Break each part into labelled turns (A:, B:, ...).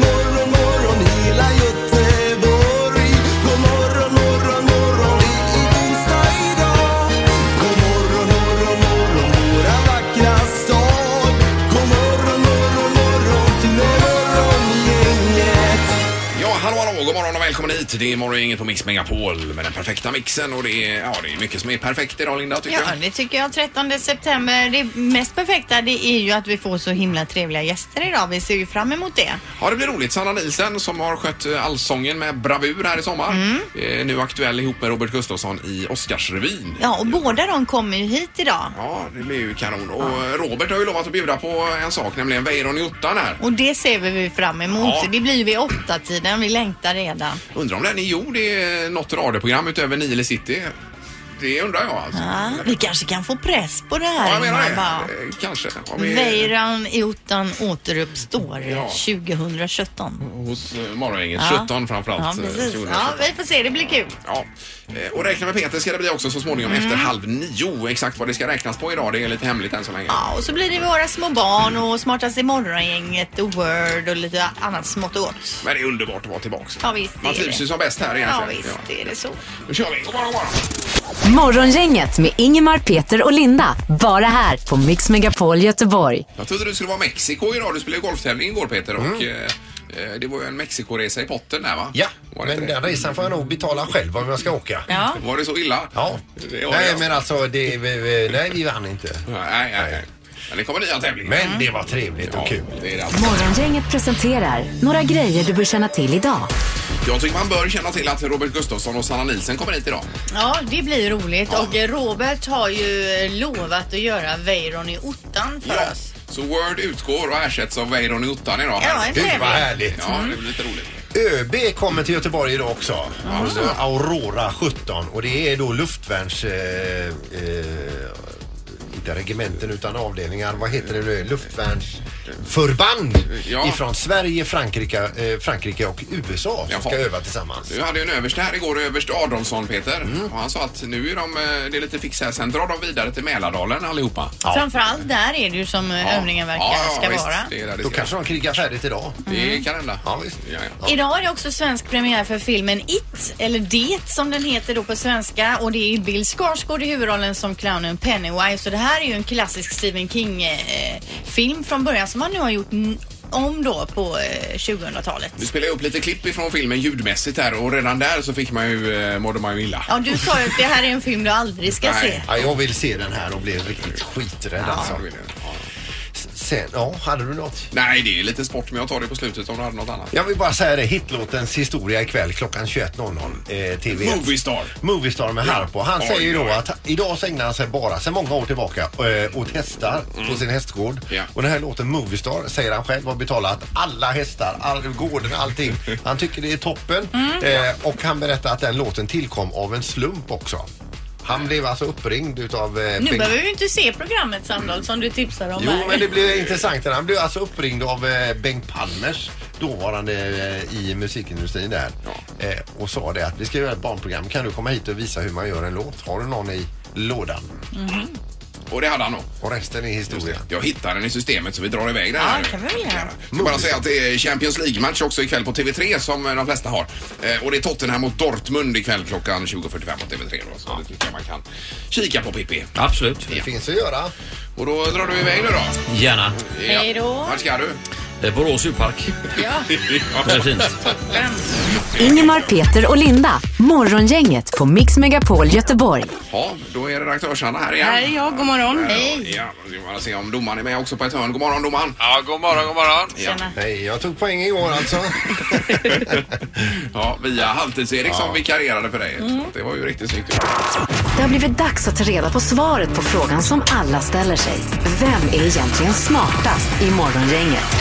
A: morgon morgon hela Göteborg. God morgon morgon morgon det är onsdag idag. God morgon morgon morgon våra vackra stad. God morgon morgon morgon till morgongänget.
B: Ja, hallå, hallå, god morgon och välkommen hit. Det är Morgongänget på Mix Megapol med den perfekta mixen och det är, ja, det är mycket som är perfekt idag Linda, tycker
C: Ja,
B: jag.
C: det tycker jag. 13 september. Det mest perfekta det är ju att vi får så himla trevliga gäster idag. Vi ser ju fram emot det.
B: Ja, det blir roligt. Sanna Nielsen som har skött eh, allsången med bravur här i sommar.
C: Mm.
B: Eh, Nu aktuell ihop med Robert Gustafsson i Oscarsrevyn.
C: Ja, och båda de kommer ju hit idag.
B: Ja, det blir ju kanon. Och eh, Robert har ju lovat att bjuda på en sak, nämligen Weiron i ottan här.
C: Och det ser vi ju fram emot.
B: Ja.
C: Det blir ju vid åtta tiden. Vi längtar redan.
B: Undrar om den är gjord i eh, något radioprogram utöver Nile City. Det undrar jag alltså.
C: Ja, vi kanske kan få press på det
B: Ja,
C: här.
B: jag menar det.
C: Ingmar, va?
B: Eh, Kanske. Om vi-
C: Weiran i ottan återuppstår
B: Ja.
C: 2017.
B: Hos eh, Morgongänget,
C: Ja.
B: 17 framförallt.
C: Ja,
B: eh,
C: precis.
B: 2017.
C: Ja, vi får se. Det blir kul.
B: Ja, eh, och räkna med Peter ska det bli också så småningom
C: Mm.
B: efter halv nio. Exakt vad det ska räknas på idag, det är lite hemligt än så länge.
C: Ja, och så blir det våra små barn och smartaste morgongänget och Word och lite annat smått och gott.
B: Men det är underbart att vara tillbaks.
C: Ja, visst, det
B: Man
C: är
B: trivs
C: det.
B: ju som bäst här
C: Ja
B: egentligen.
C: visst, det är det så.
B: Nu kör vi, god morgon, god morgon.
D: Morgongänget med Ingemar, Peter och Linda. Bara här på Mix Megapol Göteborg.
B: Jag trodde du skulle vara Mexiko idag. Du spelade ju golftävling igår Peter och eh, eh, det var ju en Mexikoresa i potten där va?
E: Mm. Ja,
B: var det
E: men
B: inte det?
E: den resan får jag nog betala själv om jag ska åka.
C: Ja.
B: Var det så illa?
E: Ja.
B: Det var
E: Nej,
B: det.
E: men alltså, det, vi- vi- nej, vi vann inte.
B: Nej, nej, nej. Men det kommer nya tävlingar.
E: Men det var trevligt och kul.
B: Ja, det är det.
D: Morgongänget presenterar några grejer du bör känna till idag.
B: Jag tycker man bör känna till att Robert Gustafsson och Sanna Nielsen kommer hit idag.
C: Ja, det blir roligt. Och eh, Robert har ju eh, lovat att göra Weiron i ottan för oss.
B: Så Word utgår och ersätts av Weiron i ottan idag.
C: Ja,
B: Här.
C: en Mm.
E: Gud vad
C: trevlig.
E: härligt.
B: Ja, det blir lite roligt.
E: ÖB kommer till Göteborg idag också. Alltså Aurora 17 och det är då luftvärns... Eh, eh, inte regementen utan avdelningar. Vad heter det nu? Luftvärnsförband
B: Ja.
E: ifrån Sverige, Frankrike, eh, Frankrike och USA som
B: Jaha.
E: ska öva tillsammans.
B: Du hade ju en överste här igår, överste Adolfsson Peter.
C: Mm.
B: Och han sa att nu är de, eh, det är lite fix här, sen drar de vidare till Mälardalen allihopa.
C: Framförallt där är det ju som eh, övningen verkar
B: Ja, ja,
C: ska
B: visst.
C: vara.
B: Det är där det
E: Då
B: ska
E: kanske de krigar färdigt idag.
B: vara. Det kan hända.
E: Ja, visst.
B: Ja, ja.
C: Idag är det också svensk premiär för filmen It, eller Det som den heter då på svenska. Och det är Bill Skarsgård i huvudrollen som clownen Pennywise. Så det här är ju en klassisk Stephen King-film från början som han nu har gjort n- om då på eh, 2000-talet.
B: Vi spelar ju upp lite klipp ifrån filmen ljudmässigt här och redan där så fick man ju, eh, mådde man ju illa.
C: Ja, du sa ju att det här är en film du aldrig ska
B: Nej.
C: se.
E: Ja, jag vill se den här och bli riktigt skiträdd alltså.
B: Så vill jag. Ja.
E: Sen, ja, hade du något?
B: Nej, det är lite sport men jag tar det på slutet om du hade något annat.
E: Jag vill bara säga det, hitlåtens historia ikväll klockan 21.00 eh, TV1.
B: Moviestar.
E: Moviestar med Harpo. Han
B: Oj,
E: säger ju då
B: oj.
E: att idag så ägnar han sig bara sedan många år tillbaka eh, åt hästar på sin hästgård.
B: Ja.
E: Och den här låten Moviestar säger han själv har betalat alla hästar, all, gården, allting. Han tycker det är toppen. Eh, och han berättar att den låten tillkom av en slump också. Han blev alltså uppringd utav... Eh,
C: Nu
E: Bengt-
C: behöver vi ju inte se programmet Sandal som du tipsar om
E: Jo,
C: här.
E: men det blev intressant. Han blev alltså uppringd av eh, Bengt Palmers dåvarande eh, i musikindustrin där eh, och sa det att vi ska göra ett barnprogram. Kan du komma hit och visa hur man gör en låt? Har du någon i lådan?
C: Mm-hmm.
B: Och det hade han nog.
E: Och resten är historia.
B: Jag hittar den i systemet så vi drar iväg den här.
C: Ja, kan vi väl göra.
B: Jag ska bara säga att det är Champions League-match också ikväll på TV3 som eh, de flesta har. Eh, och det är Tottenham mot Dortmund ikväll klockan 20.45 på TV3 då. Så det tycker jag man kan kika på Pippi.
F: Absolut,
E: Det finns att göra.
B: Och då drar du iväg nu då.
F: gärna.
B: Ja.
C: Hej då.
B: Vart ska du?
F: Eh, Borås djurpark.
C: Ja,
F: Det är fint.
D: Ingemar, Peter och Linda. Morgongänget på Mix Megapol Göteborg.
B: Ja, då är redaktörs-Hanna här igen.
G: Här är jag, god morgon.
B: Hej. Ja, vi ska bara se om domaren är med också på ett hörn. God morgon domaren.
F: Ja, god morgon, god morgon.
C: tjena.
E: Nej, jag tog poäng igår alltså.
B: Ja, via Halvtids-Erik som vikarierade för dig.
G: Mm.
B: Det var ju riktigt snyggt.
D: Det har blivit dags att ta reda på svaret på frågan som alla ställer sig. Vem är egentligen smartast i morgongänget?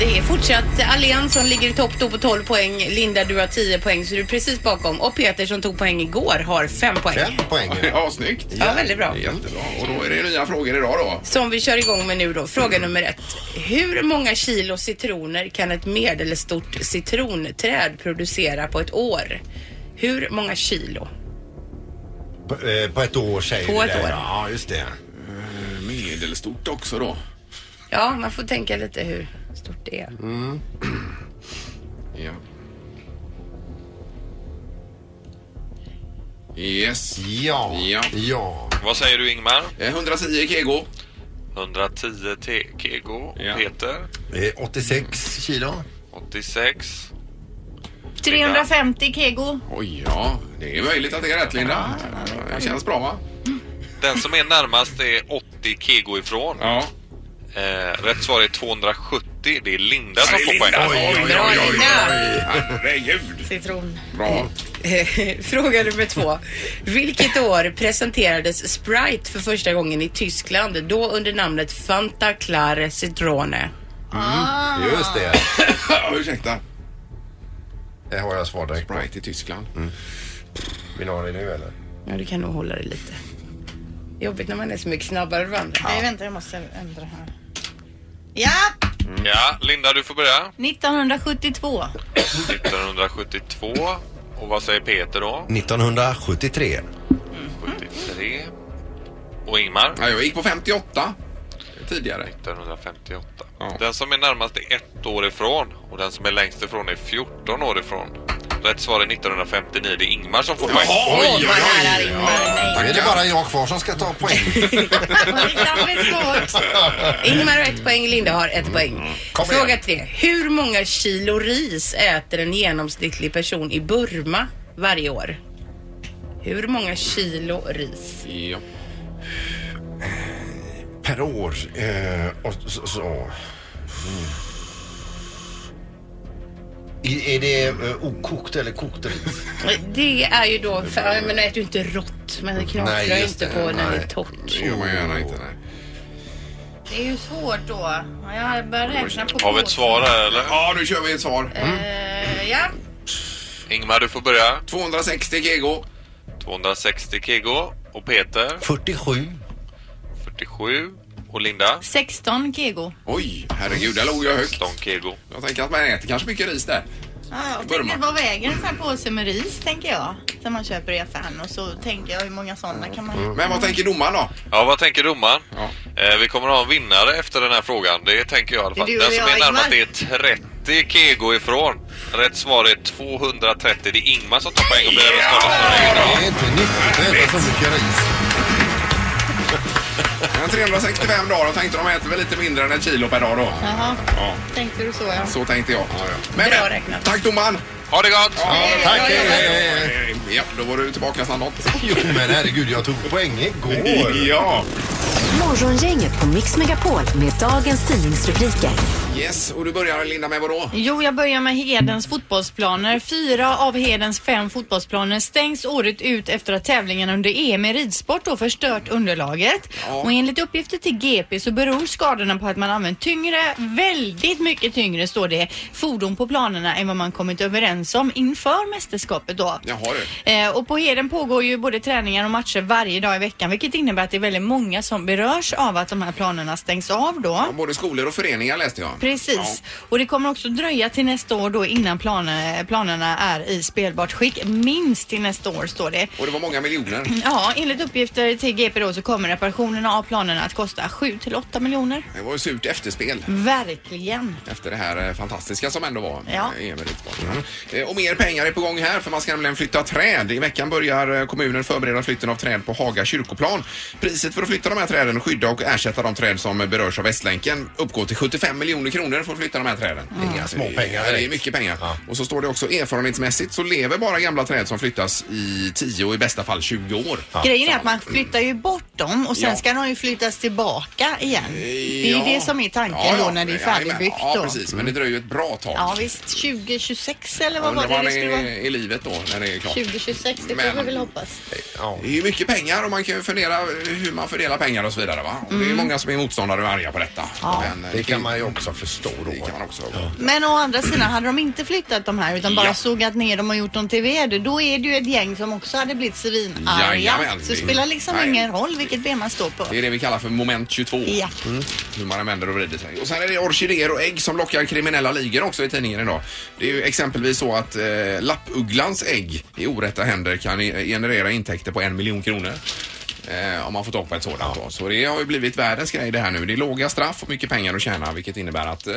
G: Det är fortsatt Allians som ligger i topp då på 12 poäng. Linda, du har 10 poäng så du är precis bakom. Och Peter som tog poäng igår har 5 poäng.
E: Fem poäng.
B: Ja, snyggt.
G: Ja, väldigt bra.
B: Jättebra. Och då är det nya frågor idag då.
G: Som vi kör igång med nu då. Fråga nummer ett. Hur många kilo citroner kan ett medelstort citronträd producera på ett år? Hur många kilo?
E: På, eh, på ett år säger
G: På
E: du
G: ett
E: det.
G: år.
E: Ja, just det.
B: Eh, Medelstort också då.
G: Ja, man får tänka lite hur stort det är.
B: Ja. Yes.
E: Ja.
B: Ja.
E: ja.
F: Vad säger du Ingmar?
B: Eh, 110 kego.
F: 110 te- kg.
B: Ja.
F: Peter.
E: Eh, 86 kilo.
F: 86.
C: 350 kego.
B: Oj, ja. Det är möjligt att det är rätt, Linda. Det känns bra, va?
F: Den som är närmast är 80 kg ifrån.
B: Ja.
F: Eh, rätt svar är 270. Det är Linda som får
B: Linda.
F: poäng.
B: Oj, oj, oj, oj, oj.
G: Linda.
B: Herregud.
C: Citron.
E: Mm.
B: Bra.
G: Eh, Fråga nummer två. Vilket år presenterades Sprite för första gången i Tyskland? Då under namnet Fanta Clare Citrone.
E: Mm, Just det.
B: Ah. Ursäkta.
E: Det har jag svar direkt på. Mm.
B: Bright i Tyskland.
E: Vill ni ha det nu eller?
G: Ja, du kan nog hålla det lite. Jobbigt när man är så mycket snabbare än varandra.
C: Nej, vänta, jag måste ändra här. Ja,
F: Ja, Linda du får börja.
C: 1972.
F: 1972. Och vad säger Peter då?
E: 1973.
F: 73. Och Ingmar?
B: Ja, jag gick på 58 tidigare.
F: 1958.
B: Ja.
F: Den som är närmast är ett år ifrån och den som är längst ifrån är 14 år ifrån. Rätt svar är 1959. Det är Ingmar som får poäng.
B: Jaha, oj, oj,
C: nära
B: oj.
C: Ingmar.
B: Ja,
E: Nu är det
B: tackar.
E: bara jag kvar som ska ta poäng.
G: Ingemar har ett poäng, Linda har ett poäng.
E: Mm. Kom igen.
G: Fråga tre. Hur många kilo ris äter en genomsnittlig person i Burma varje år? Hur många kilo ris?
B: Ja.
E: per år. Eh, och så. så. Mm. I- Är det eh, okokt eller kokt ris?
G: Det är ju då, för, jag menar äter ju inte rått, men det knaprar
E: Nej,
G: ju
E: just
G: inte
E: det.
G: på när det är
E: Nej.
G: torrt.
B: Det gör man gärna inte. Nej.
C: Det är ju svårt då. Ja, Jag börjar räkna på
F: Har vi ett svar här eller?
B: Ja, nu kör vi ett svar.
C: Eh, ja,
F: Ingmar du får börja.
B: 260 kego.
F: 260 kg och Peter
E: 47.
F: 47 och Linda
C: 16 kego.
B: Oj, herregud, där låg jag högt.
F: 16 kg.
B: Jag tänker att man äter kanske mycket ris där.
C: Ja, jag
B: Burma.
C: tänker, vad väger en sån här påse med ris tänker jag? Som man köper i affären och så tänker jag hur många sådana kan man
B: Men vad tänker domaren då?
F: Ja, vad tänker domaren?
B: Ja.
F: Eh, vi kommer att ha en vinnare efter den här frågan. Det tänker jag i alla fall.
C: Det är du och
F: Den som
C: jag,
F: är närmast
C: Ingmar.
F: är 30 kg ifrån. Rätt svar är 230. Det är Ingmar som tar poäng och blir den största.
E: Det är inte nyttigt att äta så mycket ris.
B: Men 365 dagar, och tänkte de äter väl lite mindre än ett kilo per dag då.
C: Jaha,
B: Ja,
C: tänkte du så ja.
B: så tänkte jag. Men,
G: Bra
B: men
G: räknat.
B: tack domaren!
F: Ha det gott!
E: Tack! hej, hej, hej.
B: Ja, då var du tillbaka snabbt.
E: Jo, men herregud, jag tog poäng igår.
B: Ja,
D: Morgongänget på Mix Megapol med dagens tidningsrubriker.
B: yes. Och du börjar Linda med vadå?
C: Jo, jag börjar med Hedens fotbollsplaner. Fyra av Hedens fem fotbollsplaner stängs året ut efter att tävlingen under EM i ridsport då förstört underlaget. Och enligt uppgifter till GP så beror skadorna på att man använt tyngre, väldigt mycket tyngre står det, fordon på planerna än vad man kommit överens om inför mästerskapet då.
B: Jaha du.
C: Eh, och på Heden pågår ju både träningar och matcher varje dag i veckan vilket innebär att det är väldigt många som berörs av att de här planerna stängs av då.
B: Ja, Både skolor och föreningar läste jag.
C: Precis. Och det kommer också dröja till nästa år då innan planer, planerna är i spelbart skick. Minst till nästa år står det.
B: Ja. Och det var många miljoner.
C: Ja, enligt uppgifter till GP då så kommer reparationerna av planerna att kosta 7 till 8 miljoner.
B: Det var ju surt efterspel
C: Verkligen.
B: efter det här eh, fantastiska som ändå var.
C: Ja.
B: eh, EM i ridsport. Eh, Och mer pengar är på gång här för man ska nämligen flytta träd. I veckan börjar eh, kommunen förbereda flytten av träd på Haga kyrkoplan. Priset för att flytta de här träden, skydda och ersätta de träd som berörs av Västlänken uppgår till 75 miljoner kronor för att flytta de här träden.
E: Inga småpengar
B: Ja, det är
E: Mm. direkt.
B: mycket pengar.
E: Ja.
B: Och så står det också erfarenhetsmässigt så lever bara gamla träd som flyttas i 10 och i bästa fall 20 år.
C: Grejen är att man flyttar ju bort dem och sen
B: Ja.
C: ska de ju flyttas tillbaka igen. Det är
B: Ja.
C: ju det som är tanken
B: Ja, ja.
C: då när det är
B: Jajamän.
C: färdigbyggt
B: Ja,
C: då.
B: precis. Men det dröjer ju ett bra tag.
C: Ja visst, 2026 eller vad var
B: Undrar var
C: det
B: han
C: det skulle
B: är
C: vara?
B: i livet då när det är klart.
C: 2026, det
B: Men-
C: får vi väl hoppas.
E: Ja.
B: Det är ju mycket pengar och man kan ju fundera hur man fördelar pengar och så vidare va? Och Det är många som är motståndare och arga på detta. Men, eh,
E: Det kan man ju också förstå då.
B: Det kan man också.
C: Men å andra sidan, hade de inte flyttat de här utan bara
B: Ja.
C: sågat ner dem och gjort dem till ved, då är det ju ett gäng som också hade blivit svinarga.
B: Jajamän.
C: Så det spelar liksom
B: Nej.
C: ingen roll vilket ben man står på.
B: Det är det vi kallar för moment 22.
C: Ja.
B: Mm. Hur man använder och vrider sig. Och sen är det orkidéer och ägg som lockar kriminella ligor också i tidningen idag. Det är ju exempelvis så att eh, lappugglans ägg i orätta händer kan i- generera intäkter på en miljon kronor. Eh, om man får tag på ett sådant då. Så det har ju blivit världens grej det här nu. Det är låga straff och mycket pengar att tjäna vilket innebär att eh,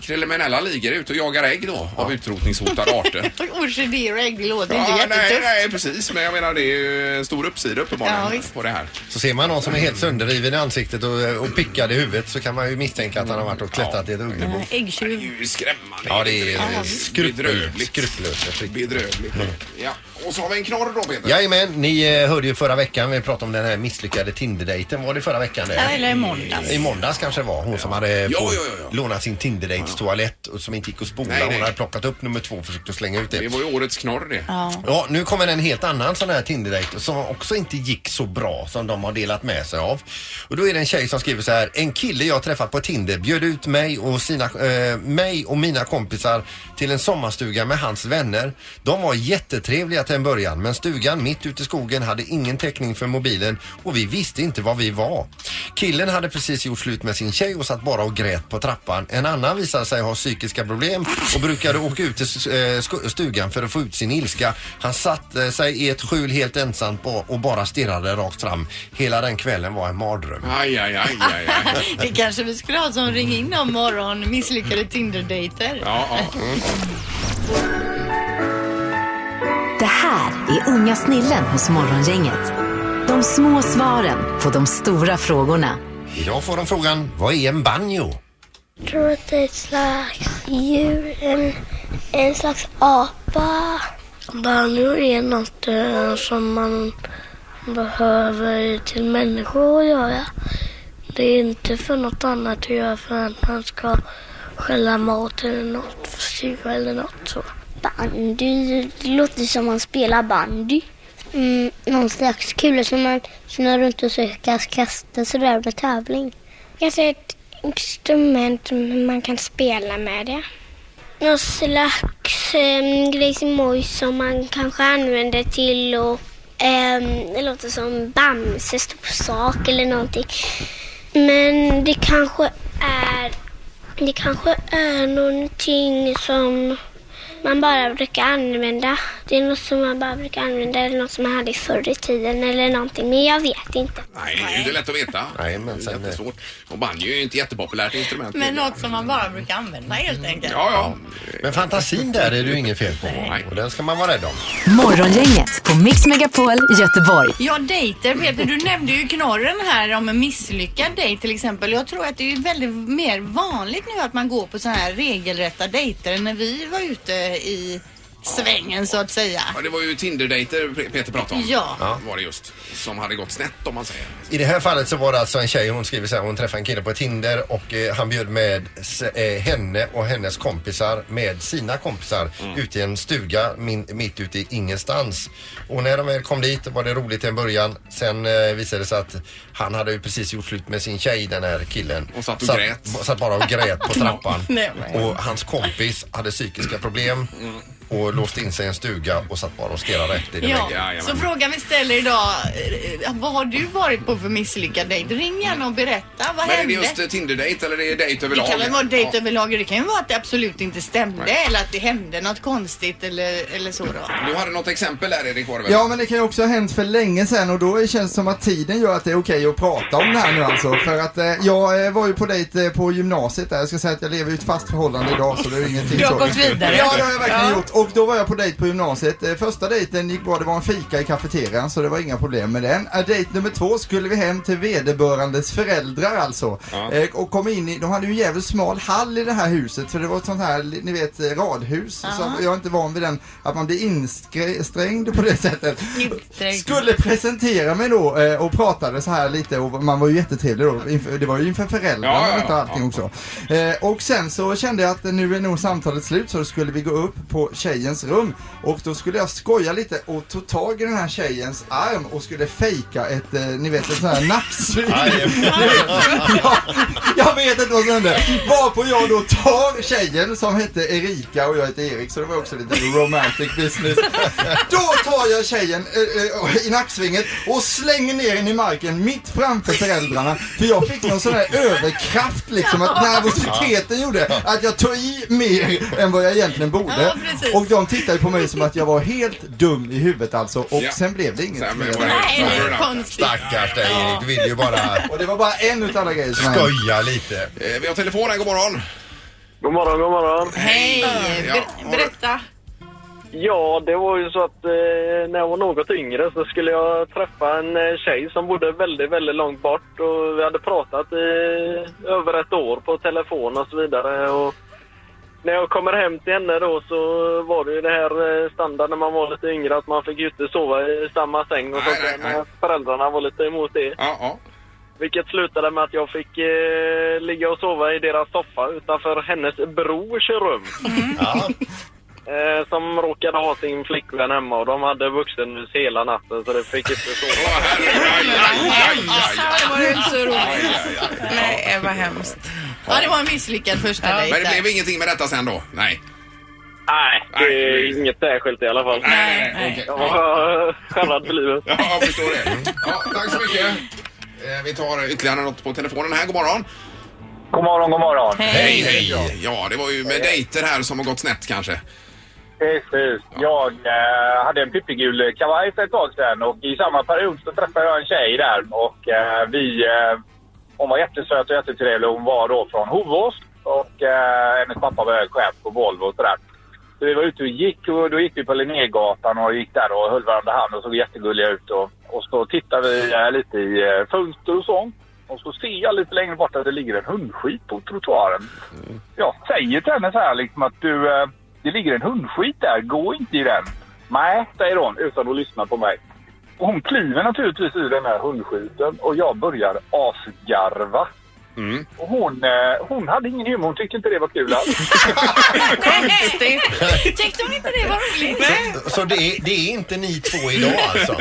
B: kriminella ligor är ute och jagar ägg då av utrotningshotade arter.
C: Orkidéer och ägg, det låter inte
B: Ja, nej,
C: jättetufft.
B: nej, precis. Men jag menar det är ju en stor uppsida
C: Ja,
B: uppenbarligen
C: visst.
B: på det här.
E: Så ser man någon som är helt sönderriven i ansiktet och, och pickad i huvudet så kan man ju misstänka att han har varit och klättrat i ett underbo.
B: Det är
C: Äggtjuv.
B: ju skrämmande.
E: Ja, det är
B: Bedrövligt.
E: skrupel- skrupelöst. jag tycker.
B: Bedrövligt.
H: Mm.
B: Ja. Och så har vi en knorr då Peter.
E: Jajamän, ni eh, hörde ju förra veckan, vi pratade om den här misslyckade Tinder-dejten. Var det förra veckan det?
C: Ja, eller i måndags.
E: I måndags kanske det var. Hon som hade
B: Jo,
E: på,
B: jo, jo, jo.
E: lånat sin tinder toalett och som inte gick att spola.
B: Nej, nej.
E: Hon hade plockat upp nummer två och försökt att slänga ut
B: Det
E: det.
B: var ju årets knorr det.
C: Ja.
E: Ja, nu kommer en helt annan sån här tinder som också inte gick så bra som de har delat med sig av. Och då är det en tjej som skriver så här. En kille jag träffat på Tinder bjöd ut mig och, sina, eh, mig och mina kompisar till en sommarstuga med hans vänner. De var jättetrevliga till en början men stugan mitt ute i skogen hade ingen täckning för mobilen och vi visste inte var vi var. Killen hade precis gjort slut med sin tjej och satt bara och grät på trappan. En annan visade sig ha psykiska problem och brukade åka ut till eh, sko- stugan för att få ut sin ilska. Han satte sig i ett skjul helt ensam på- och bara stirrade rakt fram. Hela den kvällen var en mardröm.
B: Aj, aj, aj, aj, aj.
C: Det kanske vi skulle ha som ring in om morgon, misslyckade Tinder-dejter.
B: Ja, ja. Mm.
D: Det här är unga snillen hos Morgongänget. De små svaren på de stora frågorna.
E: Idag får de frågan, vad är en banjo?
A: tror att det är ett slags djur, en, en slags apa. Banjor är något eh, som man behöver till människor att göra. Det är inte för något annat att göra för att man ska skälla mat eller något, syra eller något så. Bandy, det låter som man spelar bandy. Mm, någon slags kula som man snurrar runt och så kastar sådär med tävling. Kanske ett instrument som man kan spela med det. Någon slags um, grejsimoj som man kanske använder till och ehm, det låter som Bamse, stor sak eller någonting. Men det kanske är det kanske är någonting som man bara brukar använda. Det är något som man bara brukar använda eller något som man hade förr i tiden eller någonting. Men jag vet inte.
B: Nej, det är ju inte lätt att veta.
E: Nej, men sen- eh,
B: det är jättesvårt. Och banjo är ju inte jättepopulärt instrument.
C: Men något som man bara brukar använda helt enkelt.
B: Ja, ja.
E: Men fantasin där är det ju inget fel på.
B: Nej.
E: Och den ska man vara rädd om.
D: Morgongänget på Mix Megapol Göteborg.
C: Ja, dejter Peter. Du nämnde ju knorren här om en misslyckad dejt till exempel. Jag tror att det är väldigt mer vanligt nu att man går på sådana här regelrätta dejter än när vi var ute i svängen så att säga.
B: ja. Det var ju Tinder-dejter Peter pratade om.
C: Ja.
B: Var det just. Som hade gått snett om man säger.
E: I det här fallet så var det alltså en tjej, hon skriver så här, hon träffade en kille på Tinder och eh, han bjöd med s- eh, henne och hennes kompisar med sina kompisar
C: Mm.
E: ut i en stuga min, mitt ute i ingenstans. Och när de väl kom dit var det roligt i en början. Sen eh, visade det sig att han hade ju precis gjort slut med sin tjej, den här killen.
B: Och satt och grät.
E: b- Satt bara och grät på trappan.
C: Nej, men. Mm.
E: och hans kompis hade psykiska problem. Och låste in sig i en stuga och satt bara och stirrade rätt i den
C: Ja,
E: väggen.
B: jajamän.
C: så frågan vi ställer idag, eh, vad har du varit på för misslyckad dejt? Ring gärna och berätta, vad
B: Men är det
C: hände?
B: just eh, Tinder-dejt eller är det dejt
C: Det
B: överlag?
C: kan väl vara dejt
B: Ja.
C: överlag. Det kan ju vara att det absolut inte stämde eller att det hände något konstigt eller, eller så då.
B: Du hade något exempel där Erik Horven.
A: Ja, men det kan ju också ha hänt för länge sedan och då känns det som att tiden gör att det är okej att prata om det här nu alltså. För att eh, jag eh, var ju på dejt eh, på gymnasiet där. Jag ska säga att jag lever ju i ett fast förhållande idag så det är ingenting
C: Du har
A: så.
C: gått vidare.
A: Ja, det har jag verkligen
C: Ja.
A: gjort. Och då var jag på dejt på gymnasiet. Eh, Första dejten gick bra, det var en fika i kafeterian så det var inga problem med den. Eh, Dejt nummer två skulle vi hem till vederbörandes föräldrar alltså. Eh, Och kom in i, de hade ju en jävligt smal hall i det här huset för det var ett sånt här, ni vet, eh, radhus. Så jag är inte van vid den, att man blir insträngd på det sättet.
C: Insträngd.
A: Skulle presentera mig då eh, och pratade så här lite och man var ju jättetrevlig då. Inför, det var ju inför föräldrarna
B: Ja, ja, ja.
A: och allting också. Eh, och sen så kände jag att nu är nog samtalet slut så skulle vi gå upp på tjej
I: tjejens rum och då skulle jag skoja lite och tog tag i den här tjejens arm och skulle fejka ett, eh, ni vet, ett sånt här nacksyn. jag, jag vet inte vad som hände. Varpå jag då tar tjejen som hette Erika och jag heter Erik så det var också lite romantic business. Då tar jag tjejen eh, eh, i nacksvinget och slänger ner henne i marken mitt framför föräldrarna. För jag fick någon sån här överkraft liksom att nervositeten gjorde att jag tog i mer än vad jag egentligen borde.
C: Ja, precis.
I: och de tittade på mig som att jag var helt dum i huvudet alltså och sen blev det inget
B: Sen
I: mer.
B: blev det- Nej, det är
C: konstigt.
E: Stackars dig Erik, du vill ju bara
I: Och det var bara en utav alla grejer som hände.
E: skoja lite.
B: Eh, Vi har telefon här, god morgon.
J: God morgon, god morgon.
G: Hej!
B: Ja,
G: Ber-
B: har du-
G: berätta.
J: Ja, det var ju så att eh, när jag var något yngre så skulle jag träffa en eh, tjej som bodde väldigt, väldigt långt bort och vi hade pratat i över ett år på telefon och så vidare. Och när jag kommer hem till henne då så var det ju det här eh, standard när man var lite yngre att man fick ju inte sova i samma säng och
B: Nej,
J: sånt
B: nej,
J: där.
B: nej.
J: Men Föräldrarna var lite emot det.
B: Ja, ja.
J: Vilket slutade med att jag fick eh, ligga och sova i deras soffa utanför hennes brors rum. Eh, som råkade ha sin flickvän hemma och de hade vuxenhus hela natten så det fick inte
B: Åh,
J: sova.
B: herregud. Aj, aj, aj, aj, aj.
G: Det var ju inte så roligt.
B: Aj, aj, aj.
G: Nej, vad hemskt.
C: Ja, det var en misslyckad första dejt.
B: Men det
C: där.
B: blev ingenting med detta sen då? Nej.
J: Nej, det
B: Nej.
J: är inget särskilt i alla fall.
B: Nej,
C: nej.
B: okej.
J: Jag var eh, skärrad för livet.
B: Ja, jag förstår det. Ja, tack så mycket. Eh, Vi tar ytterligare något på telefonen här. God morgon.
J: God morgon, god morgon.
B: Hej, hej. Ja, det var ju med dejter här som har gått snett kanske.
J: Precis. Jag eh, hade en pippigul kavaj för ett tag sedan och i samma period så träffade jag en tjej där och eh, vi... Eh, hon var jättesöt och jättetrevlig. Hon var då från Hovås och eh, hennes pappa var chef på Volvo och sådär. Så vi var ute och gick och då gick vi på Linnégatan och gick där och höll varandra hand och såg jättegulliga ut. Och, och så tittade vi eh, lite i eh, fönster och sånt. Och så ser jag lite längre bort att det ligger en hundskit på trottoaren jag säger till henne så här liksom att du, eh, det ligger en hundskit där, gå inte i den. Nej, säger hon utan att lyssna på mig. Och hon kliver naturligtvis ur den här hundskiten och jag börjar asgarva.
B: Mm.
J: Och hon, eh, hon hade ingen humor, hon tyckte inte det var kul alls.
C: Konstigt. Tyckte hon inte det var roligt?
E: Så det är, det är inte ni två idag alltså?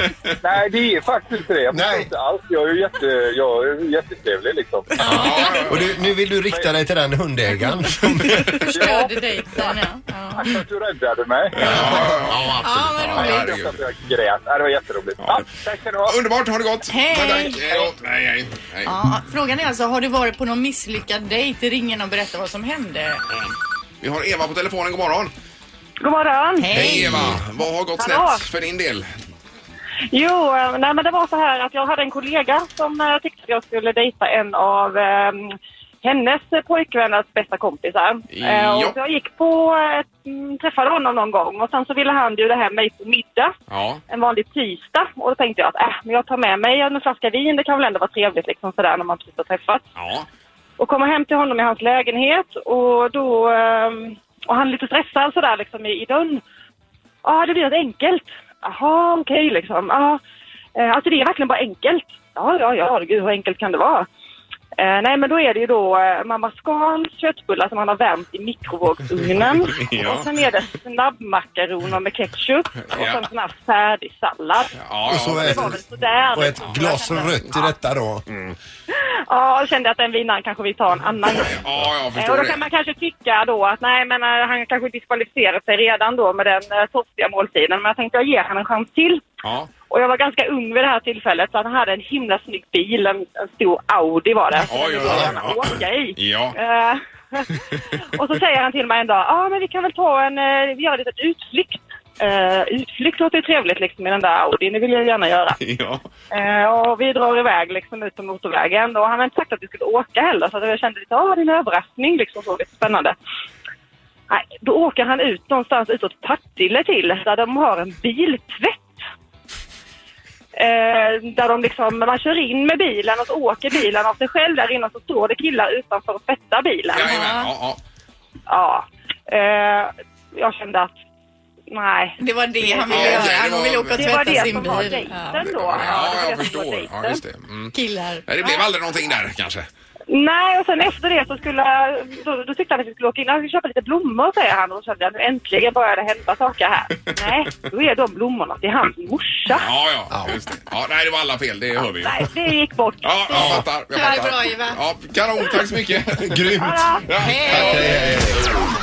J: Nej, det är faktiskt inte det. Jag förstår
E: Nej.
J: inte alls. Jag är ju jätte, jag är ju jättetrevlig liksom.
E: Ah.
B: Ja,
E: Och du, nu vill du rikta dig till den hundägaren som...
C: Förstörde dejten, ja. ja.
J: Tack för att du räddade mig.
B: ja,
C: Ja, vad
B: Ja,
C: roligt.
B: herregud.
J: Jag grät. Ja, Det var jätteroligt. Ja, tack ska ni ha.
B: Underbart, ha det gott.
C: Hej.
B: Tack, tack. Eh, och- Nej, nej, nej.
C: Ja, frågan är alltså, har du varit på någon misslyckad dejt? Ring in och berätta vad som hände.
B: Vi har Eva på telefonen. God morgon.
K: God morgon!
C: Hej!
B: Hej Eva. Vad har gått
K: Hallå.
B: snett för din del?
K: Jo, eh, nej, men det var så här att jag hade en kollega som eh, tyckte att jag skulle dejta en av eh, hennes pojkvänners bästa kompisar. Eh,
B: Ja.
K: och så jag gick på, ett, mm, träffade honom någon gång och sen så ville han bjuda hem mig på middag
B: Ja.
K: en vanlig tisdag. Och då tänkte jag att äh, men jag tar med mig en flaska vin, det kan väl ändå vara trevligt liksom sådär när man precis har träffats.
B: Ja.
K: och kommer hem till honom i hans lägenhet och då ehm, och han är lite stressad sådär liksom i, i dörren. Ja, det blir något enkelt. Jaha, okej liksom. Ja, Eh, alltså det är verkligen bara enkelt. Ja, ja, ja, gud hur enkelt kan det vara? Eh, nej, men då är det ju då eh, mamma Scans köttbullar som han har värmt i mikrovågsugnen.
B: Ja.
K: Och sen är det snabbmakaroner med ketchup och
B: Ja.
K: sen sån här färdig sallad.
B: Ja,
E: Och så
B: ja.
E: är
K: Det var väl sådär.
E: Och ett
K: liksom.
E: glas rött i detta då.
L: Mm.
K: Ja, jag kände att den vinaren kanske vi tar en annan gång.
B: ja, jag
K: Eh, Och
B: förstår
K: då kan
B: det.
K: man kanske tycka då att nej, men eh, han kanske diskvalificerat sig redan då med den eh, torftiga måltiden. Men jag tänkte jag ger han en chans till.
B: Ja.
K: Och jag var ganska ung vid det här tillfället så han hade en himla snygg bil, en, en stor Audi var det.
B: Oj, oj,
K: Den ville jag gärna
B: oj.
K: åka i.
B: Ja.
K: Eh, och så säger han till mig en dag, ja ah, men vi kan väl ta en, eh, vi gör en liten utflykt. Eh, utflykt låter ju trevligt liksom i den där Audin, det vill jag gärna göra.
B: Ja.
K: Eh, och vi drar iväg liksom ut på motorvägen och han hade inte sagt att vi skulle åka heller så att jag kände lite, ah det är en överraskning liksom så, lite spännande. Nej, då åker han ut någonstans utåt Partille till där de har en biltvätt. Eh, där de liksom, man kör in med bilen och så åker bilen av sig själv där inne och så står det killar utanför och tvättar bilen.
B: Jajamän. Ja, ja.
K: Ja. Eh, jag kände att, nej.
C: Det var det han ville
B: Ja, okej,
C: göra.
B: det
C: Han
B: var-
C: ville åka och
K: Det var
C: tvätta
K: det
C: sin
K: som var
C: bil. Ja.
K: dejten då.
B: Ja,
K: det var
B: jag
K: det som var
B: förstår.
K: dejten.
B: Ja, just det. Mm.
C: Killar.
B: Nej, Det blev aldrig någonting där kanske.
K: Nej, och sen efter det så skulle, då, då tyckte han att vi skulle åka in och köpa lite blommor säger han och då kände jag nu äntligen börjar det hända saker här. Nej, då är de blommorna till hans morsa.
B: Ja, ja, just det. Ja, nej, det var alla fel. Det hör vi ju.
K: Nej, det gick bort.
B: Ja, jag fattar. Jag
K: Tyvärr
B: fattar.
K: bra, Ivar.
B: Ja, kanon, tack så mycket. Grymt. Ja,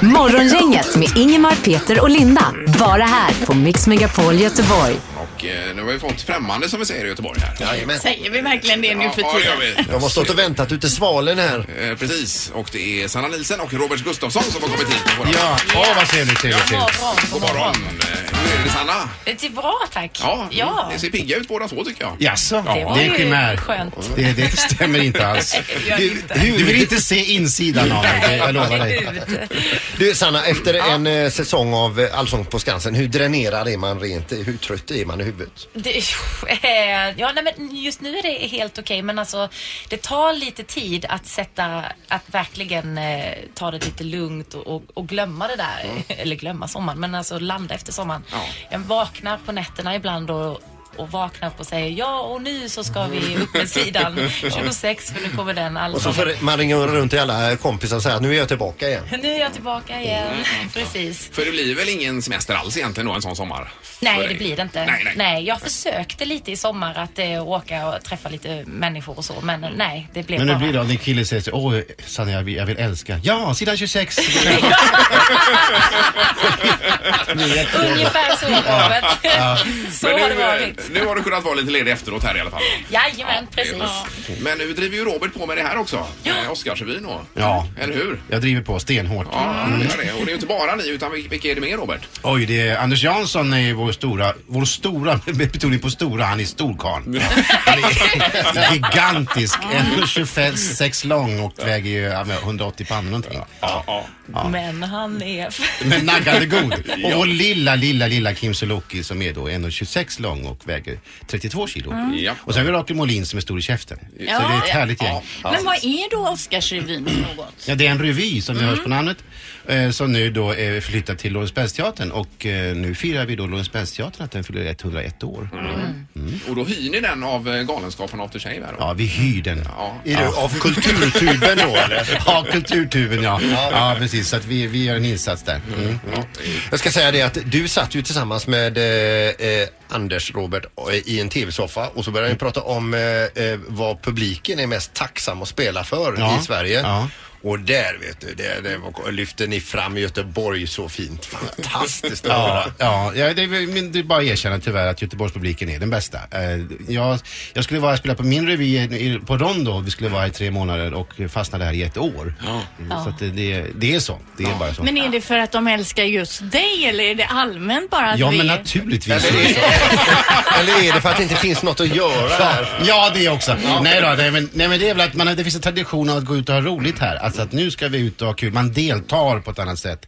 D: Morgongänget med Ingemar, Peter och Linda. Bara här på Mix Megapol Göteborg.
B: Och eh, nu har vi fått främmande som vi säger i Göteborg här.
E: Jajamän.
C: Säger vi verkligen det nu för
B: Ja, det gör
C: tiden?
B: vi.
E: De har stått och väntat ute i svalen här.
B: Eh, precis, och det är Sanna Nielsen och Robert Gustafsson som har kommit hit. på våra-
E: Ja, åh vad trevligt, trevligt, trevligt.
B: God morgon. Eh, Hur är det Sanna?
L: Det är bra tack.
B: Ja, ni ser pigga ut båda två tycker jag.
H: Jaså,
B: Ja.
H: det är en chimär.
L: skönt.
H: Det, det stämmer inte alls.
L: Nej, det
H: Du,
L: gör inte.
H: du vill inte se insidan av det, jag lovar dig.
E: Du Sanna, efter en eh, säsong av eh, Allsång på Skansen, hur dränerad är man rent? Hur trött är man i huvudet?
L: Det, eh, ja, nej, men just nu är det helt okej, men alltså det tar lite tid att sätta, att verkligen eh, ta det lite lugnt och, och, och glömma det där.
E: Mm.
L: Eller glömma sommaren, men alltså landa efter sommaren. Jag vaknar på nätterna ibland och och vaknar upp och säger ja och nu så ska vi upp med sidan 26 för nu kommer den alltså
E: Och så
L: allsången.
E: får man ringa runt till alla kompisar och säga att nu är jag tillbaka igen.
L: Nu är jag tillbaka igen.
E: Mm.
L: Precis.
B: För det blir väl ingen semester alls egentligen då en sån sommar?
L: Nej,
B: För
L: det
B: dig?
L: blir det inte.
B: Nej, nej.
L: jag försökte lite i sommar att eh, åka och träffa lite människor och så,
B: Mm.
L: men eh, nej, det blev
H: Men nu
L: bara...
H: blir det om din kille säger så, åh Sanna jag vill, jag vill älska. Ja, sidan 26.
L: Ungefär så var det.
B: Ja.
L: Så
B: Men
L: har det
B: nu, eh,
L: varit.
B: nu har du kunnat vara lite ledig efteråt här i alla fall.
L: Jajamän, precis.
B: Men nu driver ju Robert på med det här också. Eh, Oscarsrevyn då.
H: Ja.
B: Eller hur?
H: Jag driver på stenhårt.
B: Ja, det gör det. Och det är ju inte bara ni, utan vil- vilka är det med Robert?
H: Oj, det är, Anders Jansson är ju vår stora, vår stora, med betoning på stora, han är storkarn. Han är gigantisk,
L: Mm.
H: 1,26 lång och väger ju ja, men 180 pannor någonting. Ja.
L: Men han är...
H: Men naggande god. Och vår lilla, lilla, lilla Kim Sulocki som är då 1,26 lång och väger 32 kilo.
C: Mm.
B: Ja.
H: Och sen har vi Rakel Molin som är stor i käften.
C: Ja.
H: Så det är ett härligt gäng.
C: Ja. Men vad är då Oscarsrevyn för något?
H: Ja, det är en revy som vi hörs
C: Mm.
H: på namnet eh, som nu då är flyttad till Lorensbergsteatern och eh, nu firar vi då Lorensbergsteatern att den fyller 101 år.
C: Mm.
H: Mm.
B: Och då hyr ni den av eh, Galenskaparna After Shave här då?
H: Ja, vi hyr den.
E: Är du av kulturtuben då eller?
H: Ja, kulturtuben ja.
E: Ja.
H: Ja, precis. Så att vi, vi gör en insats där. Mm.
E: Jag ska säga det att du satt ju tillsammans med eh, eh, Anders Robert eh, i en tv-soffa och så började ni prata om eh, eh, vad publiken är mest tacksam att spela för
H: Ja.
E: i Sverige.
H: Ja.
E: Och där vet du, där, där var- lyfte ni fram Göteborg så fint. Fantastiskt att
H: Ja,
E: höra.
H: ja, ja det, är väl- men det är bara att erkänna tyvärr att Göteborgspubliken är den bästa. Eh, Jag, jag skulle vara spela på min revy i- på Rondo, vi skulle vara i tre månader och fastnade här i ett år. Mm,
C: Ja.
H: Så att det, det, det är så. Det är bara så.
C: Men är det för att de älskar just dig eller är det allmänt bara att
H: Ja
C: vi...
H: men naturligtvis.
E: Eller är det för att det inte finns något att göra här?
H: Ja, det också. Nej då, nej, men, nej men det är väl att man, det finns en tradition av att gå ut och ha roligt här. Alltså att nu ska vi ut och ha kul. Man deltar på ett annat sätt.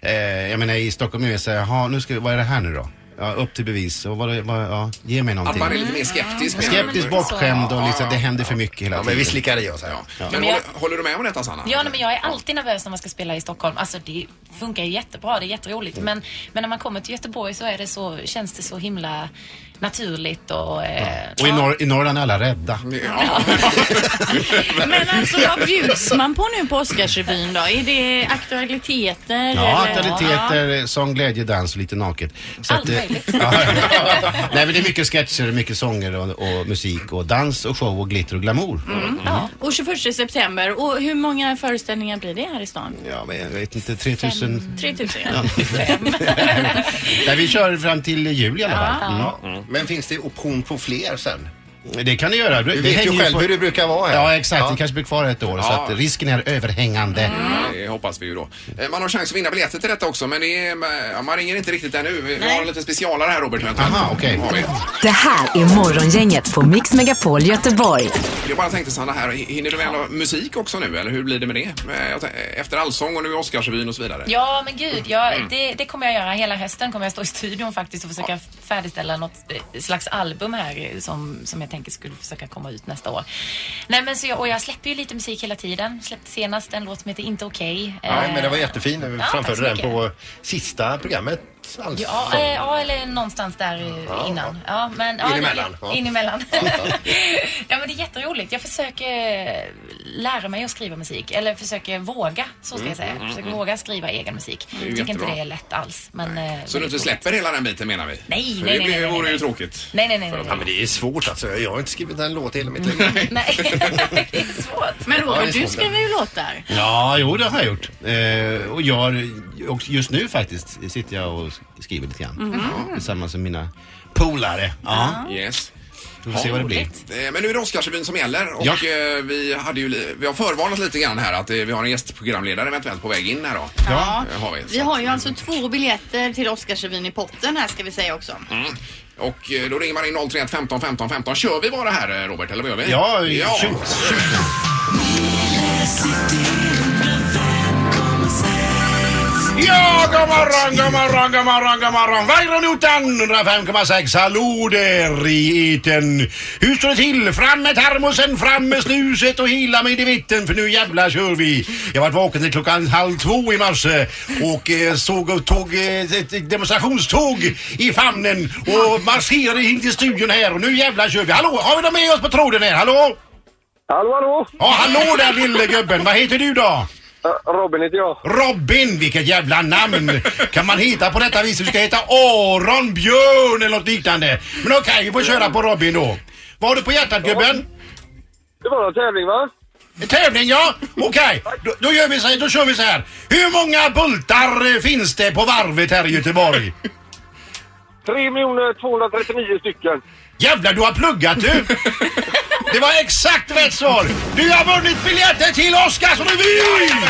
H: Eh, jag menar i Stockholm är det så här, jaha, nu ska vi, vad är det här nu då? Ja, upp till bevis och vad, vad, ja, ge mig
B: Att
H: någonting.
B: man är lite mer skeptisk. menar du?
H: Skeptisk, bortskämd och liksom, det händer för mycket hela
E: Ja,
H: tiden.
E: men vi slickade i oss här.
B: Men håller, håller du med om detta Sanna?
L: Ja, nej, men jag är alltid nervös när man ska spela i Stockholm. Alltså det funkar ju jättebra, det är jätteroligt. Men, men när man kommer till Göteborg så är det så, känns det så himla naturligt och... Eh,
H: Och i, norr, i Norrland är alla rädda.
C: Men alltså vad bjuds man på nu på Oscarsrevyn då? Är det aktualiteter?
H: Ja,
C: eller?
H: aktualiteter, sång, glädje, dans och lite naket. Så
C: Allt
H: eh,
C: möjligt.
H: ja, ja. Nej men det är mycket sketcher, mycket sånger och, och musik och dans och show och glitter och glamour.
C: Mm. Ja. Och 21 september. Och hur många föreställningar blir det här i stan?
H: Ja, men jag vet inte, 3000...
C: 3000 ja.
H: Ja. Nej, vi kör fram till jul i alla fall.
E: Ja. Men finns det option på fler sen?
H: Mm. Det kan det göra.
E: Du vet ju
H: hänger
E: själv hur det brukar vara här.
H: Ja, exakt. Det kanske blir kvar ett år så
B: Ja.
H: att risken är överhängande.
E: Mm.
B: Det hoppas vi ju då. Eh, Man har chans att vinna biljetter till detta också men det är, eh, man ringer inte riktigt ännu. Vi vi har en liten specialare här Robert. Aha,
H: okej.
D: Det här är Morgongänget på Mix Megapol Göteborg.
B: Jag bara tänkte Sanna här, hinner du med någon musik också nu eller hur blir det med det? Eh, jag tän- Efter allsång och nu är Oscarsrevyn och så vidare.
L: Ja, men gud. Jag,
B: Mm.
L: det, det kommer jag göra. Hela hösten kommer jag stå i studion faktiskt och försöka färdigställa något eh, slags album här eh, som, som jag tänker skulle försöka komma ut nästa år. Nej, men så jag, och jag släpper ju lite musik hela tiden. Släppte senast en låt som heter Inte okej.
E: Nej,
L: Eh,
E: men det var jättefin. Vi
L: ja, tack
E: framförde
L: så
E: den
L: mycket.
E: på sista programmet sex alltså?
L: Ja, eh, ja, eller någonstans där eh,
E: Ja,
L: innan. Ja, men, ja,
E: In emellan,
L: det-
E: ja.
L: In emellan. ja, men det är jätteroligt. Jag försöker eh, lära mig att skriva musik. Eller försöker våga, så ska
B: Mm,
L: jag säga.
B: mm,
L: Försöker
B: mm.
L: våga skriva egen musik.
B: Det är ju
L: Jag tycker inte
B: jättebra.
L: det är lätt alls. Men, eh,
B: Så du inte
L: väldigt roligt.
B: släpper hela den biten menar vi?
L: Nej,
B: För
L: nej,
B: det
L: nej,
B: blir-
L: nej, nej,
B: vore ju
L: nej.
B: tråkigt.
L: Nej, nej, nej. nej,
E: Ja, men
L: nej.
E: det är svårt alltså. Jag har inte skrivit en låt i hela mitt
L: Mm.
E: liv.
C: Men
M: Ja,
C: Roger,
M: det är
C: du
M: sant.
C: skriver ju låtar.
M: Ja, jo det har jag gjort. Eh, och jag, och just nu faktiskt sitter jag och skriver lite grann.
E: Mm.
B: Mhm.
M: Ja, Tillsammans med mina polare. Ja.
B: Yes.
M: Vi får se vad det blir.
B: Eh, Men nu är det Oscarsrevyn som gäller och
M: Ja.
B: eh, vi, hade ju, li- vi har förvarnat lite grann här att eh, vi har en gästprogramledare eventuellt på väg in här då.
C: Ja.
B: Eh, Har vi.
C: Vi har ju alltså två biljetter till Oscarsrevyn i potten här ska vi säga också.
B: Mm. Och eh, då ringer man in 031 15 15 15. Kör vi bara här eh, Robert eller vad gör vi?
M: Ja, tjut, Ja, god morgon, god morgon, god morgon, god morgon. Vajronotan 105,6. Hallå där i eten. Hur står det till? Fram med termosen, fram med snuset och hila mig i vitten för nu jävlar kör vi. Jag var vaken till klockan halv två i morse och eh, såg och tog eh, ett ett demonstrationståg i famnen och marscherade in till studion här och nu jävlar kör vi. Hallå, har vi någon med oss på tråden här? Hallå?
N: Hallå, hallå!
M: Ja, hallå där lille gubben. Vad heter du då?
N: Robin heter jag.
M: Robin, vilket jävla namn! Kan man hitta på detta viset? Du ska heta Aron Björn eller något liknande. Men okej, vi får köra på Robin då. Vad har du på hjärtat gubben?
N: Det var en tävling va?
M: Tävling ja! Okej, då, då, gör vi så här- då kör vi så här. Hur många bultar eh, finns det på varvet här i Göteborg?
N: 3 239 stycken.
M: Jävlar, du har pluggat du! Det var exakt rätt svar! Du har vunnit biljetter till Oscarsrevyn!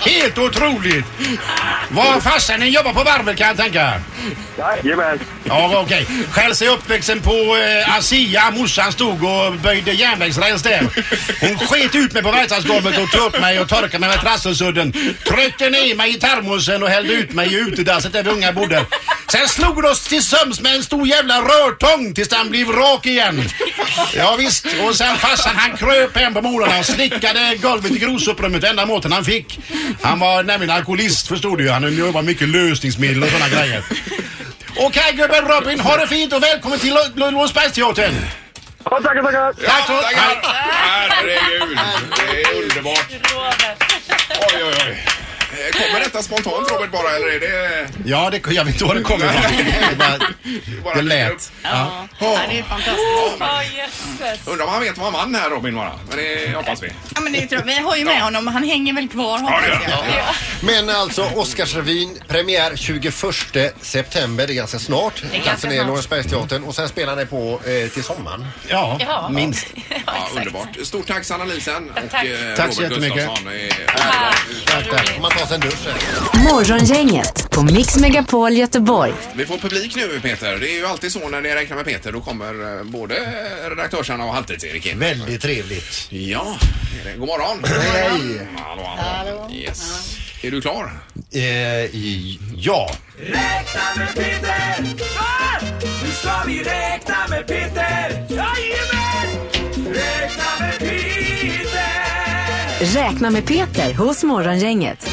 M: Helt otroligt! Vad farsan jobbar på varvet kan jag tänka.
N: Jajamän.
M: Ja, vad okej. Själv så är jag uppväxten på eh, ASEA. Morsan stod och böjde järnvägsräls där. Hon sket ut mig på verkstadsgolvet och tog upp mig och torkade mig med trasselsudden. Tryckte ner mig i termosen och hällde ut mig i utedasset där vi unga bodde. Sen slog hon oss till söms med en stor jävla rörtång tills den blev rak igen. Ja, visst. Och sen farsan han kröp hem på morgonen och slickade golvet i grosuprummet enda måten han fick. Han var nämligen alkoholist förstod du ju. Han jobbade mycket lösningsmedel och sådana grejer. Okej gubben Robin, ha det fint och välkommen till Lo- Lo- Lundsbergsteatern.
N: Ja, tackar, tackar.
M: Tack så
B: tackar. Herregud, det är underbart. Oj, oj, oj. Eh, Kommer detta spontant Robert bara eller är det...
M: Ja, det, jag vet inte var det kommer ifrån. Det bara- Det lät.
C: Ja. Ja, det är fantastiskt.
B: Undrar om han vet vad han vann här Robin bara. Men det hoppas vi.
C: Ja, men det tror jag. Vi har ju med honom han hänger väl kvar hoppas jag.
E: Men alltså Oscarsrevyn, premiär 21 september. Det är ganska snart.
C: ganska
E: Platsen är
C: snart.
E: Lorensbergsteatern och sen spelar ni på eh, till sommaren.
L: Ja. minst.
B: Ja, underbart. Stort tack Sanna Lisen och
L: Tack.
B: eh,
E: Tack
B: Robert
E: så jättemycket.
B: Gustafsson. Eh,
E: Tack, tack. Får man ta sig en dusch här?
D: Morgongänget på Mix Megapol Göteborg.
B: Vi får publik nu Peter. Det är ju alltid så när ni räknar med Peter. Då kommer eh, både redaktörsarna och Halvtids-Erik in.
E: Väldigt trevligt.
B: Ja, det är det. god morgon. Hej. Hallå, hallå. Yes. Är du klar?
E: Eh, i- ja.
O: Räkna med Peter! Nu ska vi räkna med Peter! Jajamän! Räkna med Peter!
D: Räkna med Peter hos Morgongänget.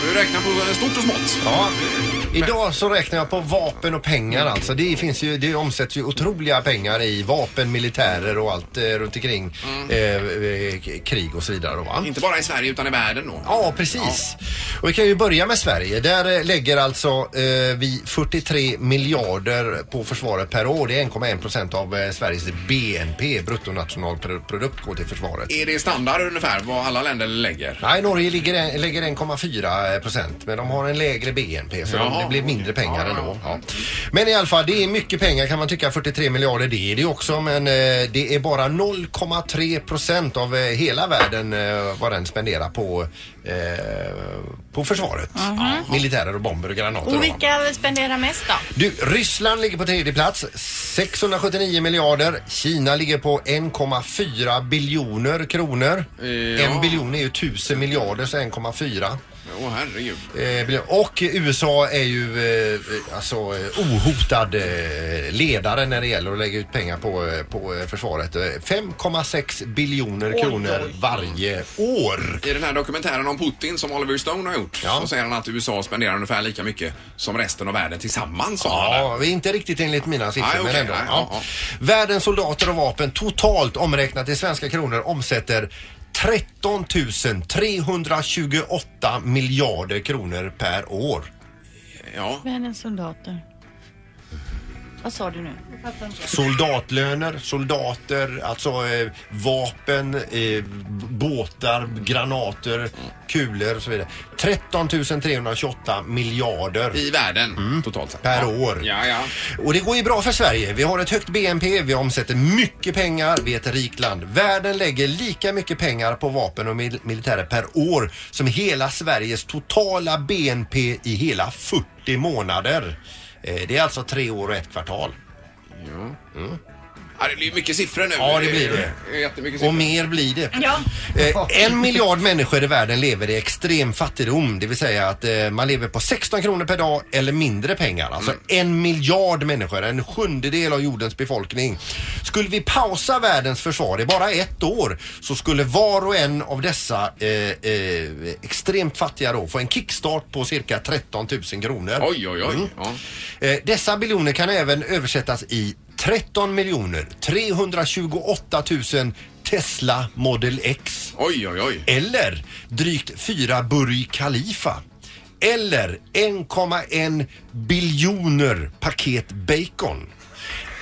B: Och du räknar på stort och smått.
E: Ja. Idag så räknar jag på vapen och pengar alltså. Det, finns ju, det omsätts ju otroliga pengar i vapen, militärer och allt eh, runt omkring eh, eh, k- krig och så vidare. Då, va?
B: Mm. Inte bara i Sverige utan i världen då.
E: Ja, precis. Och vi kan ju börja med Sverige. Där eh, lägger alltså eh, vi 43 miljarder på försvaret per år. Det är 1,1 procent av eh, Sveriges BNP, bruttonationalprodukt, går till försvaret.
B: Är det standard ungefär vad alla länder lägger?
E: Nej, Norge ligger, en- lägger 1,4 procent men de har en lägre BNP så
B: Jaha.
E: de, det blir mindre pengar ändå. Ja. Men i alla fall, det är mycket pengar kan man tycka. 43 miljarder, det är det också men eh, det är bara 0,3 procent av eh, hela världen eh, vad den spenderar på, eh, på försvaret.
C: Mhm.
E: Militärer och bomber och granater. då, va?
C: Och vilka spenderar mest då?
E: Du, Ryssland ligger på tredje plats, 679 miljarder. Kina ligger på 1,4 biljoner kronor.
B: Ja.
E: En biljon är ju tusen miljarder, så 1,4.
B: Åh herregud.
E: Eh, blir- Och USA är ju eh, alltså, eh, ohotad eh, ledare när det gäller att lägga ut pengar på, eh, på eh, försvaret. Eh, 5,6 biljoner
B: Oj,
E: kronor
B: oj.
E: varje år.
B: I den här dokumentären om Putin som Oliver Stone har gjort så säger han att USA spenderar ungefär lika mycket som resten av världen tillsammans. sa han där.
E: Ja, vi är inte riktigt enligt mina siffror
B: Nej, okej,
E: men ändå.
B: nej,
E: ja.
B: ja,
E: Världens soldater och vapen totalt omräknat i svenska kronor omsätter 13 328 miljarder kronor per år.
B: Ja.
C: Världens soldater. Vad sa du nu?
E: Soldatlöner, soldater, alltså eh, vapen, eh, b- båtar, granater, kulor och så vidare. 13 328 miljarder. Mm.
B: I världen totalt sett.
E: Per
B: Ja.
E: år.
B: Ja, ja.
E: Och det går ju bra för Sverige. Vi har ett högt BNP, vi omsätter mycket pengar, vi är ett rikt land. Världen lägger lika mycket pengar på vapen och mil- militärer per år som hela Sveriges totala BNP i hela 40 månader. Eh, Det är alltså tre år och ett kvartal. Mm.
B: Ja, det blir ju mycket siffror nu.
E: Ja, det blir det.
B: är Jättemycket siffror.
E: Och mer blir det.
C: Ja.
E: Eh, en miljard människor i världen lever i extrem fattigdom. Det vill säga att eh, man lever på 16 kronor per dag eller mindre pengar. Alltså
B: Mm.
E: en miljard människor, en sjundedel av jordens befolkning. Skulle vi pausa världens försvar i bara ett år så skulle var och en av dessa eh, eh, extremt fattiga då få en kickstart på cirka 13 000 kronor.
B: Oj, oj, oj.
E: Mm.
B: Ja.
E: Eh, Dessa biljoner kan även översättas i 13 miljoner 328 000 Tesla Model X.
B: Oj, oj, oj.
E: Eller drygt 4 Burj Khalifa. Eller 1,1 biljoner paket bacon.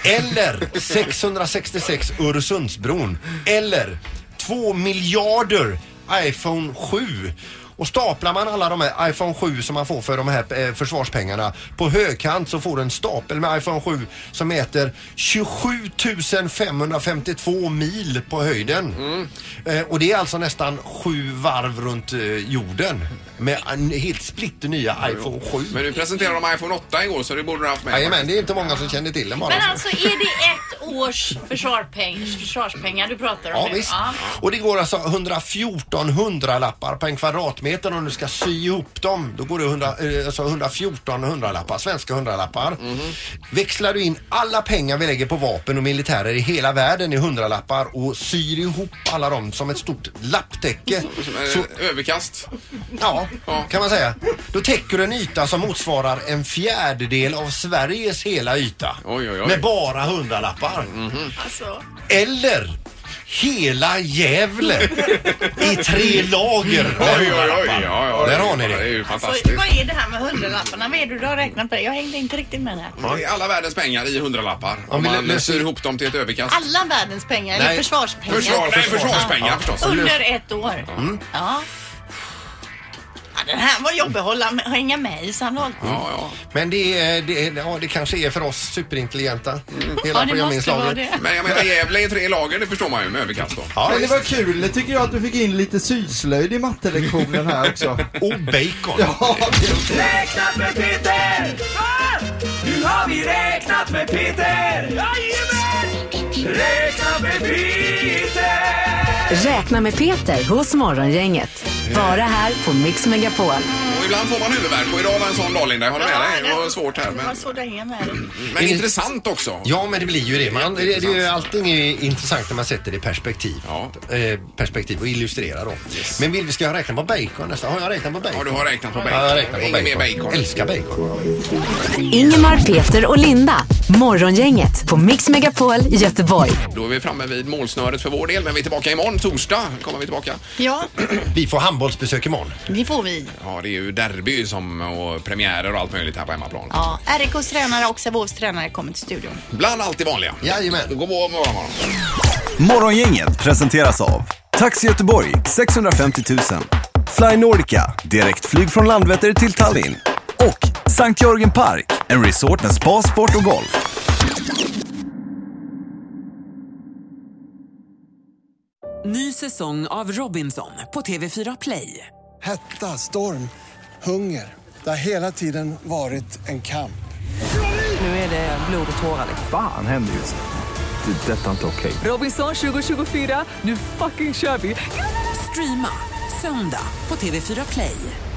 E: Eller 666 Öresundsbron. Eller 2 miljarder iPhone 7. Och staplar man alla de här iPhone 7 som man får för de här eh, försvarspengarna på högkant så får du en stapel med iPhone 7 som mäter 27 552 mil på höjden.
B: Mm.
E: Eh, och det är alltså nästan sju varv runt eh, jorden med en helt splitternya iPhone 7.
B: Men nu presenterade de iPhone 8 igår så det borde du haft med.
E: Jajamän, det är inte många som känner till den bara.
C: Men alltså är det ett års försvarspeng, försvarspengar du pratar om
E: Ja,
C: nu?
E: visst. Och det går alltså 114 hundralappar på en kvadratmeter om du ska sy ihop dem. Då går det 100, eh, alltså 114 hundralappar, svenska hundralappar.
B: Mhm.
E: Växlar du in alla pengar vi lägger på vapen och militärer i hela världen i hundralappar och syr ihop alla dem som ett stort lapptäcke.
B: Eh,
E: Så,
B: Överkast.
E: ja, kan man säga. Då täcker du en yta som motsvarar en fjärdedel av Sveriges hela yta.
B: oj. Mhm.
E: Med bara hundralappar.
C: Alltså.
E: Eller hela Gävle i tre lager. med
B: Oj, oj, oj.
E: hundralappar.
B: Ja, ja,
E: Där har ni
B: Det är
E: det.
B: ju
C: Alltså,
B: fantastiskt.
C: vad är det här med hundralapparna? Vad är det du har räknat på det? Jag hängde inte riktigt med det här.
B: Det är alla världens pengar i hundralappar. Om
E: vi
B: man
E: lä-
B: syr ihop dem till ett överkast.
C: Alla världens pengar, eller
B: Nej.
C: försvarspengar?
B: Försvar- nej, försvarspengar
C: Ja.
B: förstås.
C: Under ett år?
B: Mm.
C: Ja. ja. Den här var jobbig att hålla med, hänga med i samtalet.
E: Men det, är, det, är, ja, det kanske är för oss superintelligenta.
C: Mm. Ja, det
E: Hela
C: måste vara
E: programinslaget.
C: det.
B: Men jag menar Gävle i tre lager, det förstår man ju med överkast då.
I: Men det var kul, det tycker jag att du fick in lite syslöjd i mattelektionen här också.
E: Och oh, bacon.
I: Ja,
A: Räknat med Peter! Nu har vi räknat med Peter! Räknat med Peter!
D: Räkna med Peter hos Morgongänget. Bara här på Mix Megapol.
B: Och ibland får man huvudvärk och idag var en sån dag Linda, jag håller med dig. Det var svårt här
C: Alltså, Det var
B: men,
C: svårt att hänga med.
B: men intressant också.
E: Ja, men det blir ju det. Man, det, det, är ju- allting är intressant när man sätter det i perspektiv. Eh, perspektiv och illustrerar då. Men vill vi ska jag räkna på bacon nästa? Har jag räknat på bacon? Ja,
B: du har räknat på bacon.
E: jag har räknat på
B: Inget
E: bacon.
B: mer bacon.
E: Älskar bacon.
D: Ingemar, Peter och Linda. Morgongänget på Mix Megapol Göteborg.
B: Då är vi framme vid målsnöret för vår del men vi är tillbaka imorgon, torsdag kommer vi tillbaka.
C: Ja,
E: Vi får handbollsbesök imorgon.
C: det får vi.
B: Ja, det är ju derby som, och premiärer och allt möjligt här på hemmaplan.
C: Ja, RIKs tränare och Sävehofs tränare kommer till studion.
B: Bland allt det vanliga.
E: Jajamän.
B: God morgon, morgon, morgon.
P: Morgongänget presenteras av Taxi Göteborg 650 000 Fly Nordica, direktflyg från Landvetter till Tallinn och Sankt Jörgen Park, en resort med spa, sport och golf.
Q: Ny säsong av Robinson på TV4 Play.
R: Hetta, storm, hunger. Det har hela tiden varit en kamp.
Q: Nu är det blod och tårar. liksom.
O: Fan händer just nu. Det. är Detta är inte okej.
Q: Robinson 2024, nu fucking kör vi! Streama söndag på TV4 Play.